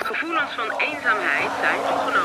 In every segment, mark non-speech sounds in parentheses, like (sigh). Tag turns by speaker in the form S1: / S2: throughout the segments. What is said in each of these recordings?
S1: Gevoelens van eenzaamheid zijn toegenomen.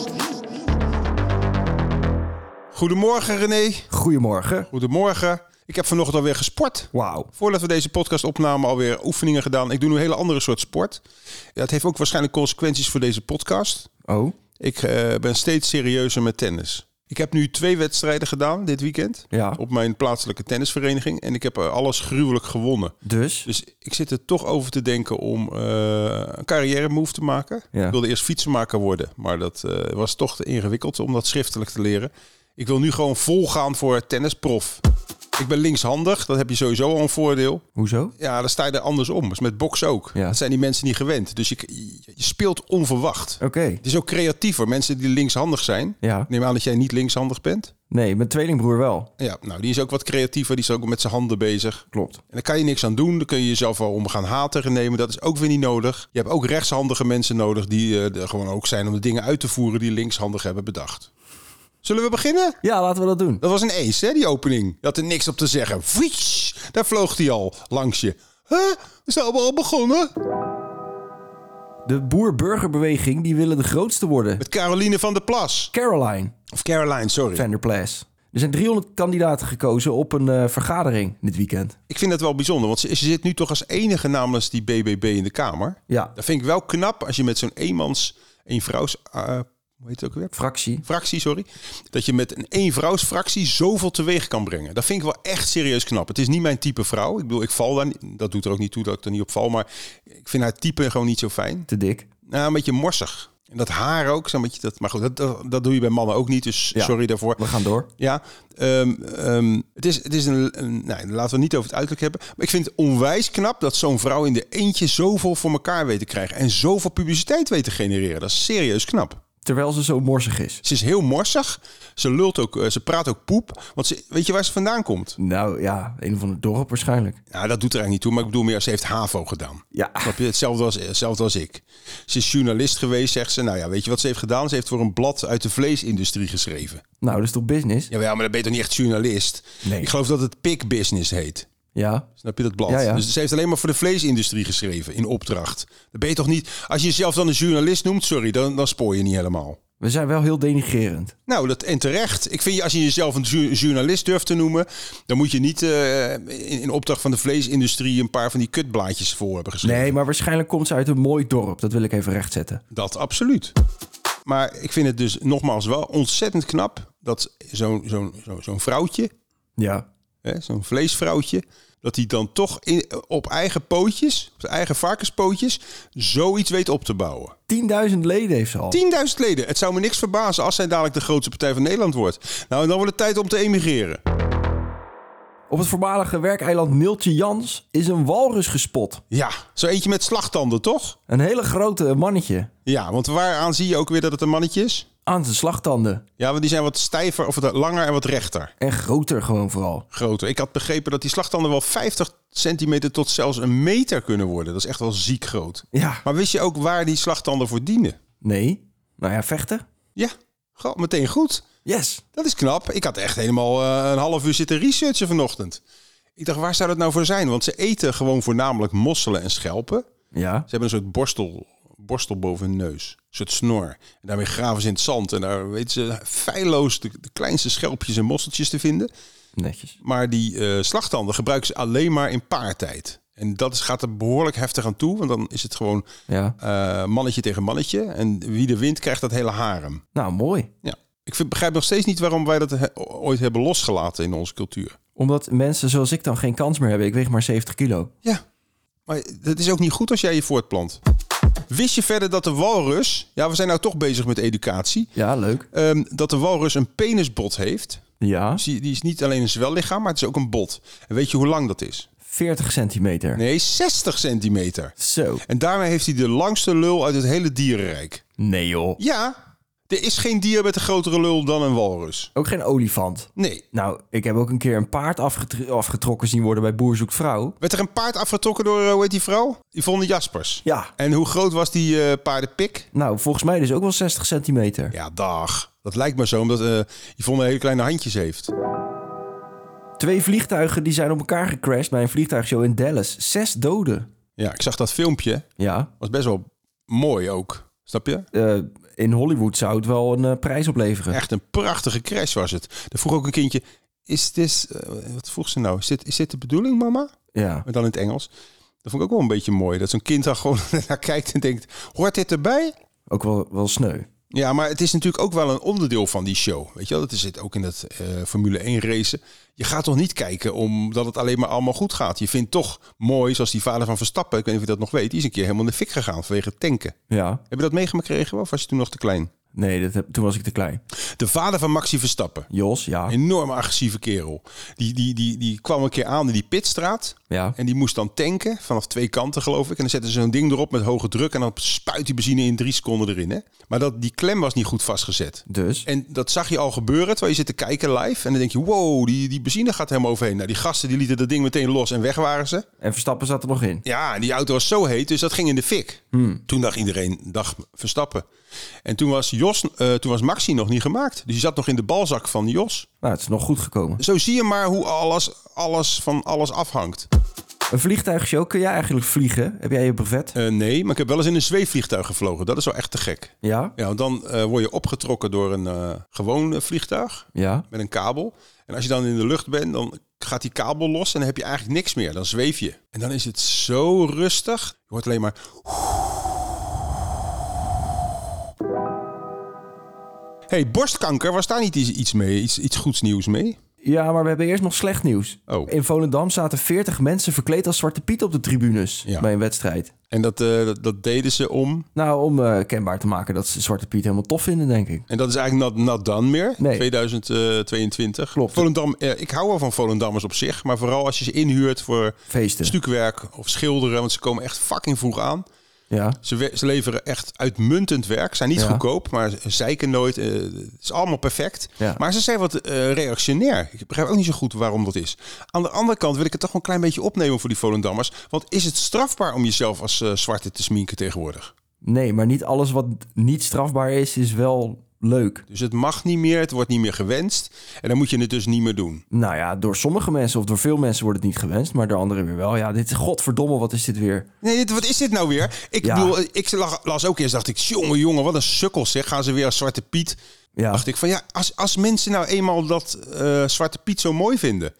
S2: Goedemorgen René.
S3: Goedemorgen.
S2: Goedemorgen. Ik heb vanochtend alweer gesport.
S3: Wauw.
S2: Voordat we deze podcast opnamen, alweer oefeningen gedaan. Ik doe nu een hele andere soort sport. Dat heeft ook waarschijnlijk consequenties voor deze podcast.
S3: Oh,
S2: Ik eh, ben steeds serieuzer met tennis. Ik heb nu twee wedstrijden gedaan dit weekend.
S3: Ja.
S2: Op mijn plaatselijke tennisvereniging. En ik heb eh, alles gruwelijk gewonnen.
S3: dus?
S2: Dus ik zit er toch over te denken om eh, een carrière move te maken.
S3: Ja.
S2: Ik wilde eerst fietsenmaker worden, maar dat eh, was toch te ingewikkeld om dat schriftelijk te leren. Ik wil nu gewoon vol gaan voor tennisprof. Ik ben linkshandig, dat heb je sowieso al een voordeel.
S3: Hoezo?
S2: Ja, dan sta je er anders om. Dat is met boksen ook.
S3: Ja.
S2: Dat zijn die mensen niet gewend. Dus je, je speelt onverwacht.
S3: Oké.
S2: Het is ook creatiever. Mensen die linkshandig zijn.
S3: Ja.
S2: Ik Neem aan dat jij niet linkshandig bent.
S3: Nee, mijn tweelingbroer wel.
S2: Ja, nou, die is ook wat creatiever. Die is ook met zijn handen bezig.
S3: Klopt.
S2: En daar kan je niks aan doen. Dan kun je jezelf wel om gaan haten gaan nemen. Dat is ook weer niet nodig. Je hebt ook rechtshandige mensen nodig die eh, er gewoon ook zijn om de dingen uit te voeren die linkshandig hebben bedacht. Zullen we beginnen?
S3: Ja, laten we dat doen.
S2: Dat was een ace, hè, die opening. Je had er niks op te zeggen. Fiets, daar vloog hij al langs je. Huh? We zijn allemaal al begonnen.
S3: De boer-burgerbeweging, die willen de grootste worden.
S2: Met Caroline van der Plas.
S3: Caroline
S2: Of Caroline, sorry.
S3: van der Plas. Er zijn 300 kandidaten gekozen op een eh, vergadering dit weekend.
S2: Ik vind dat wel bijzonder, want ze, ze zit nu toch als enige namens die BBB in de Kamer.
S3: Ja,
S2: Dat vind ik wel knap als je met zo'n eenmans, eenvrouws, eh hoe heet het ook weer?
S3: fractie.
S2: fractie, sorry. Dat je met een eenvrouwsfractie zoveel teweeg kan brengen. Dat vind ik wel echt serieus knap. Het is niet mijn type vrouw. Ik bedoel, ik val daar niet. Dat doet er ook niet toe dat ik er niet op val. Maar ik vind haar type gewoon niet zo fijn.
S3: Te dik.
S2: Nou, een beetje morsig. En dat haar ook. Zo'n beetje dat, maar goed, dat- dat, dat doe je bij mannen ook niet. Dus
S3: Ja.
S2: sorry daarvoor.
S3: We gaan door.
S2: Ja, ehm, ehm, het is, het is een, een- nee, laten we het niet over het uiterlijk hebben. Maar ik vind het onwijs knap dat zo'n vrouw in de eentje zoveel voor elkaar weet te krijgen. En zoveel publiciteit weet te genereren. Dat is serieus knap.
S3: Terwijl ze zo morsig is.
S2: Ze is heel morsig. Ze lult ook, eh, ze praat ook poep. Want ze, weet je waar ze vandaan komt?
S3: Nou ja, een van het dorp waarschijnlijk.
S2: Nou, dat doet er eigenlijk niet toe. Maar ik bedoel meer, ze heeft HAVO gedaan.
S3: Ja.
S2: Snap je? Hetzelfde als, hetzelfde als ik. Ze is journalist geweest, zegt ze. Nou ja, weet je wat ze heeft gedaan? Ze heeft voor een blad uit de vleesindustrie geschreven.
S3: Nou, dat is toch business?
S2: Ja, maar dan ben je toch niet echt journalist?
S3: Nee.
S2: Ik geloof dat het Pig Business heet.
S3: Ja.
S2: Snap je dat blad?
S3: Ja, ja.
S2: Dus ze heeft alleen maar voor de vleesindustrie geschreven in opdracht. Dan ben je toch niet... Als je jezelf dan een journalist noemt, sorry, dan, dan spoor je niet helemaal.
S3: We zijn wel heel denigrerend.
S2: Nou, dat, en terecht. Ik vind, je- als je jezelf een ju- journalist durft te noemen... dan moet je niet eh, in, in opdracht van de vleesindustrie... een paar van die kutblaadjes voor hebben geschreven.
S3: Nee, maar waarschijnlijk komt ze uit een mooi dorp. Dat wil ik even rechtzetten.
S2: Dat absoluut. Maar ik vind het dus nogmaals wel ontzettend knap... dat zo'n zo'n zo'n zo'n vrouwtje,
S3: Ja.
S2: hè, zo'n vleesvrouwtje... dat die dan toch in, op eigen pootjes, op zijn eigen varkenspootjes... zoiets weet op te bouwen.
S3: 10.000 leden heeft ze al.
S2: 10.000 leden. Het zou me niks verbazen als zij dadelijk de grootste partij van Nederland wordt. Nou, en dan wordt het tijd om te emigreren.
S3: Op het voormalige werkeiland Niltje Jans is een walrus gespot.
S2: Ja, zo eentje met slagtanden, toch?
S3: Een hele grote mannetje
S2: Ja, want waaraan zie je ook weer dat het een mannetje is?
S3: aan zijn slagtanden.
S2: Ja, want die zijn wat stijver, of wat langer en wat rechter.
S3: En groter gewoon vooral.
S2: Groter. Ik had begrepen dat die slagtanden wel 50 centimeter tot zelfs een meter kunnen worden. Dat is echt wel ziek groot.
S3: Ja.
S2: Maar wist je ook waar die slagtanden voor dienen?
S3: Nee. Nou ja, vechten.
S2: Ja, goh, meteen goed.
S3: Yes.
S2: Dat is knap. Ik had echt helemaal eh, een half uur zitten researchen vanochtend. Ik dacht, waar zou dat nou voor zijn? Want ze eten gewoon voornamelijk mosselen en schelpen.
S3: Ja.
S2: Ze hebben een soort borstel, borstel boven hun neus. Een soort snor. En daarmee graven ze in het zand. En daar weten ze feilloos de, de kleinste schelpjes en mosseltjes te vinden.
S3: Netjes.
S2: Maar die eh slagtanden gebruiken ze alleen maar in paartijd. En En dat is, gaat er behoorlijk heftig aan toe, want dan is het gewoon
S3: Ja.
S2: eh, mannetje tegen mannetje. En wie de wint, krijgt dat hele harem.
S3: Nou, mooi.
S2: Ja. Ik vind, begrijp nog steeds niet waarom wij dat he- ooit hebben losgelaten in onze cultuur.
S3: Omdat mensen zoals ik dan geen kans meer hebben. Ik weeg maar 70 kilo.
S2: Ja, maar dat is ook niet goed als jij je voortplant. Wist je verder dat de walrus, ja we zijn nou toch bezig met educatie,
S3: Ja, leuk.
S2: ehm, dat de walrus een penisbot heeft?
S3: Ja.
S2: Dus die, die is niet alleen een zwellichaam, maar het is ook een bot. En weet je hoe lang dat is?
S3: 40 centimeter.
S2: Nee, 60 centimeter.
S3: Zo.
S2: En daarmee heeft hij de langste lul uit het hele dierenrijk.
S3: Nee joh.
S2: Ja, er is geen dier met een grotere lul dan een walrus.
S3: Ook geen olifant.
S2: Nee.
S3: Nou, ik heb ook een keer een paard afgetr- afgetrokken zien worden bij Boer Zoekt Vrouw.
S2: Werd er een paard afgetrokken door, eh, hoe heet die vrouw? Yvonne Jaspers.
S3: Ja.
S2: En hoe groot was die eh, paardenpik?
S3: Nou, volgens mij dus ook wel 60 centimeter.
S2: Ja, dag. Dat lijkt me zo, omdat eh Yvonne hele kleine handjes heeft.
S3: Twee vliegtuigen die zijn op elkaar gecrashed bij een vliegtuigshow in Dallas. Zes doden.
S2: Ja, ik zag dat filmpje.
S3: Ja.
S2: Was best wel mooi ook. Snap je?
S3: eh, in Hollywood zou het wel een eh, prijs opleveren.
S2: Echt een prachtige crash was het. Er vroeg ook een kindje... Is dit... eh, wat vroeg ze nou? Is dit, is dit de bedoeling, mama?
S3: Ja.
S2: Maar dan in het Engels. Dat vond ik ook wel een beetje mooi. Dat zo'n kind daar gewoon (laughs) naar kijkt en denkt... Hoort dit erbij?
S3: Ook wel, wel sneu.
S2: Ja, maar het is natuurlijk ook wel een onderdeel van die show. Weet je wel? Dat zit ook in dat eh, Formule 1 racen. Je gaat toch niet kijken omdat het alleen maar allemaal goed gaat. Je vindt toch mooi, zoals die vader van Verstappen... ik weet niet of je dat nog weet... die is een keer helemaal in de fik gegaan vanwege het tanken.
S3: Ja.
S2: Heb je dat meegekregen of was je toen nog te klein?
S3: Nee, dat heb, toen was ik te klein.
S2: De vader van Maxi Verstappen.
S3: Jos, ja.
S2: Enorm agressieve kerel. Die, die, die, die kwam een keer aan in die pitstraat.
S3: Ja.
S2: En die moest dan tanken, vanaf twee kanten geloof ik. En dan zetten ze zo'n ding erop met hoge druk. En dan spuit die benzine in drie seconden erin. Hè? Maar dat, die klem was niet goed vastgezet.
S3: Dus?
S2: En dat zag je al gebeuren terwijl je zit te kijken live. En dan denk je, wow, die, die benzine gaat helemaal overheen. Nou, die gasten die lieten dat ding meteen los en weg waren ze.
S3: En Verstappen zat er nog in.
S2: Ja, en die auto was zo heet, dus dat ging in de fik. Toen dacht iedereen, dag Verstappen. En toen was, Jos, eh, toen was Maxi nog niet gemaakt. Dus die zat nog in de balzak van Jos.
S3: Nou, het is nog goed gekomen.
S2: Zo zie je maar hoe alles, alles van alles afhangt.
S3: Een vliegtuigshow, kun jij eigenlijk vliegen? Heb jij je brevet?
S2: Eh, nee, maar ik heb wel eens in een zweefvliegtuig gevlogen. Dat is wel echt te gek.
S3: Ja?
S2: Ja, want dan eh, word je opgetrokken door een eh, gewoon eh, vliegtuig
S3: Ja.
S2: met een kabel. En als je dan in de lucht bent, dan gaat die kabel los en dan heb je eigenlijk niks meer. Dan zweef je. En dan is het zo rustig. Je hoort alleen maar... hey, borstkanker, was daar niet iets iets mee? Iets, iets goeds nieuws mee?
S3: Ja, maar we hebben eerst nog slecht nieuws.
S2: Oh.
S3: In Volendam zaten 40 mensen verkleed als Zwarte Piet op de tribunes
S2: Ja.
S3: bij een wedstrijd.
S2: En dat, eh, dat, dat deden ze om.
S3: Nou, om eh, kenbaar te maken dat ze Zwarte Piet helemaal tof vinden, denk ik.
S2: En dat is eigenlijk not, not done meer,
S3: Nee.
S2: 2022.
S3: Klopt.
S2: Volendam, eh, ik hou wel van Volendammers op zich, maar vooral als je ze inhuurt voor
S3: Feesten.
S2: stukwerk of schilderen, want ze komen echt fucking vroeg aan.
S3: Ja.
S2: Ze, we- ze leveren echt uitmuntend werk, zijn niet
S3: Ja.
S2: goedkoop, maar ze zeiken nooit. eh, het is allemaal perfect.
S3: Ja.
S2: Maar ze zijn wat eh, reactionair. Ik begrijp ook niet zo goed waarom dat is. Aan de andere kant wil ik het toch wel een klein beetje opnemen voor die Volendammers. Want is het strafbaar om jezelf als eh, zwarte te sminken tegenwoordig?
S3: Nee, maar niet alles wat niet strafbaar is, is wel leuk.
S2: Dus het mag niet meer, het wordt niet meer gewenst. En dan moet je het dus niet meer doen.
S3: Nou ja, door sommige mensen of door veel mensen wordt het niet gewenst, maar door anderen weer wel. Ja, dit is godverdomme, wat is dit weer?
S2: Nee, dit- wat is dit nou weer? Ik
S3: Ja.
S2: bedoel, ik lag- las ook eerst, dacht ik, jongen, jongen, wat een sukkel zeg. Gaan ze weer als Zwarte Piet?
S3: Ja.
S2: Dacht ik van, ja, als, als mensen nou eenmaal dat eh, Zwarte Piet zo mooi vinden...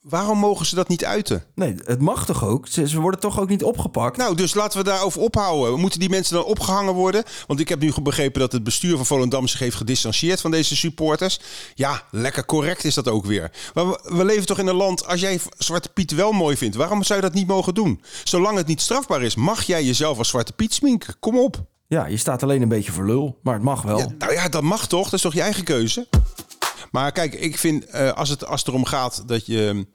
S2: waarom mogen ze dat niet uiten?
S3: Nee, het mag toch ook? Ze, ze worden toch ook niet opgepakt?
S2: Nou, dus laten we daarover ophouden. Moeten die mensen dan opgehangen worden? Want ik heb nu begrepen dat het bestuur van Volendam zich heeft gedistanceerd van deze supporters. Ja, lekker correct is dat ook weer. Maar we, we leven toch in een land, als jij Zwarte Piet wel mooi vindt, waarom zou je dat niet mogen doen? Zolang het niet strafbaar is, mag jij jezelf als Zwarte Piet sminken. Kom op.
S3: Ja, je staat alleen een beetje voor lul, maar het mag wel.
S2: Ja, nou ja, dat mag toch? Dat is toch je eigen keuze? Maar kijk, ik vind eh, als, het, als het erom gaat dat je,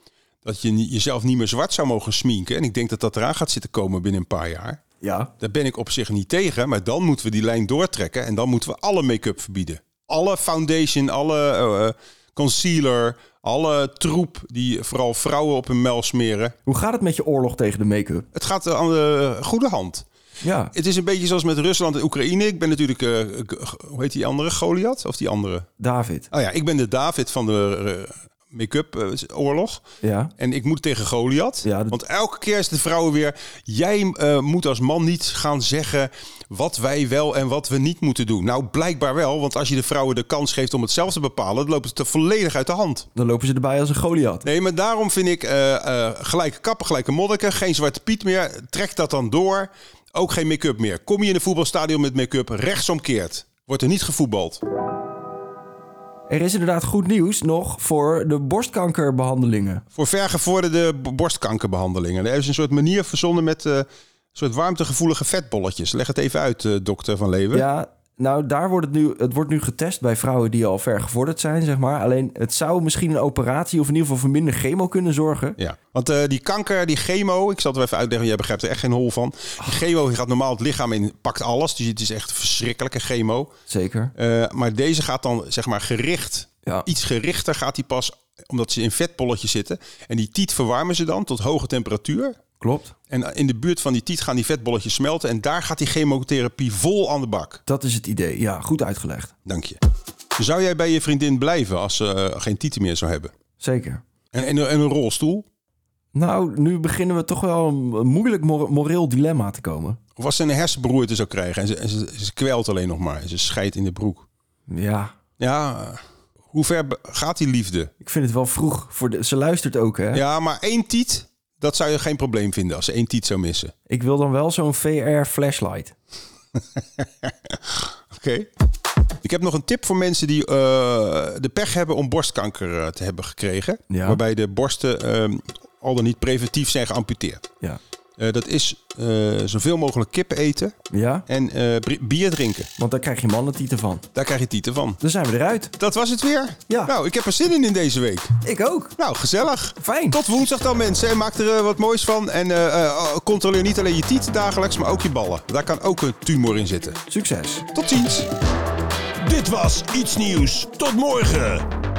S2: dat je ni- jezelf niet meer zwart zou mogen sminken. En ik denk dat dat eraan gaat zitten komen binnen een paar jaar.
S3: ja.
S2: Daar ben ik op zich niet tegen, maar dan moeten we die lijn doortrekken en dan moeten we alle make-up verbieden. Alle foundation, alle eh, eh, concealer, alle troep die vooral vrouwen op hun mel smeren.
S3: Hoe gaat het met je oorlog tegen de make-up?
S2: Het gaat eh, aan de goede hand.
S3: Ja.
S2: Het is een beetje zoals met Rusland en Oekraïne. Ik ben natuurlijk, eh, eh, hoe heet die andere, Goliath? Of die andere?
S3: David.
S2: Oh ja, ik ben de David van de eh, make-up eh, oorlog.
S3: Ja.
S2: En ik moet tegen Goliath.
S3: Ja, dat-
S2: Want elke keer is de vrouwen weer... Jij eh, moet als man niet gaan zeggen wat wij wel en wat we niet moeten doen. Nou, blijkbaar wel. Want als je de vrouwen de kans geeft om het zelf te bepalen... dan lopen ze er volledig uit de hand.
S3: Dan lopen ze erbij als een Goliath.
S2: Nee, maar daarom vind ik eh, eh, gelijke kappen, gelijke monniken. Geen zwarte piet meer. Trek dat dan door. Ook geen make-up meer. Kom je in een voetbalstadion met make-up rechtsomkeerd. Wordt er niet gevoetbald.
S3: Er is inderdaad goed nieuws nog voor de borstkankerbehandelingen.
S2: Voor vergevorderde b- borstkankerbehandelingen. Er is een soort manier verzonnen met eh, een soort warmtegevoelige vetbolletjes. Leg het even uit, eh, dokter Van Leeuwen.
S3: Ja, nou daar wordt het nu, het wordt nu getest bij vrouwen die al ver gevorderd zijn, zeg maar. Alleen het zou misschien een operatie of in ieder geval voor minder chemo kunnen zorgen.
S2: Ja, want eh, die kanker, die chemo, ik zal het wel even uitleggen, want jij begrijpt er echt geen hol van. Die chemo die gaat normaal het lichaam in, pakt alles, dus het is echt verschrikkelijke chemo.
S3: Zeker.
S2: Eh, maar deze gaat dan, zeg maar, gericht.
S3: Ja.
S2: Iets gerichter gaat die pas, omdat ze in vetbolletjes zitten. En die tiet verwarmen ze dan tot hoge temperatuur.
S3: Klopt.
S2: En in de buurt van die tiet gaan die vetbolletjes smelten. En daar gaat die chemotherapie vol aan de bak.
S3: Dat is het idee. Ja, goed uitgelegd.
S2: Dank je. Zou jij bij je vriendin blijven als ze eh, geen tieten meer zou hebben?
S3: Zeker.
S2: En, en, en een rolstoel?
S3: Nou, nu beginnen we toch wel een een moeilijk mor- moreel dilemma te komen.
S2: Of als ze een hersenberoerte zou krijgen en ze, en ze, ze kwelt alleen nog maar. En ze scheidt in de broek.
S3: Ja,
S2: Ja, eh, hoe ver be- gaat die liefde?
S3: ik vind het wel vroeg. Voor de, ze luistert ook, hè?
S2: Ja, maar één tiet, dat zou je geen probleem vinden als ze één tiet zou missen.
S3: Ik wil dan wel zo'n VR-flashlight.
S2: Oké. Ik heb nog een tip voor mensen die eh, de pech hebben om borstkanker eh, te hebben gekregen.
S3: Ja.
S2: Waarbij de borsten ehm, al dan niet preventief zijn geamputeerd.
S3: Ja.
S2: Eh, dat is eh, zoveel mogelijk kippen eten
S3: Ja?
S2: en eh, bri- bier drinken.
S3: Want daar krijg je mannentieten van.
S2: Daar krijg je tieten van.
S3: Dan zijn we eruit.
S2: Dat was het weer.
S3: Ja.
S2: Nou, ik heb er zin in in deze week.
S3: Ik ook.
S2: Nou, gezellig.
S3: Fijn.
S2: Tot woensdag dan mensen. En maak er eh, wat moois van. En eh, eh, controleer niet alleen je tiet dagelijks, maar ook je ballen. Daar kan ook een tumor in zitten.
S3: Succes.
S2: Tot ziens. Dit was Iets Nieuws. Tot morgen.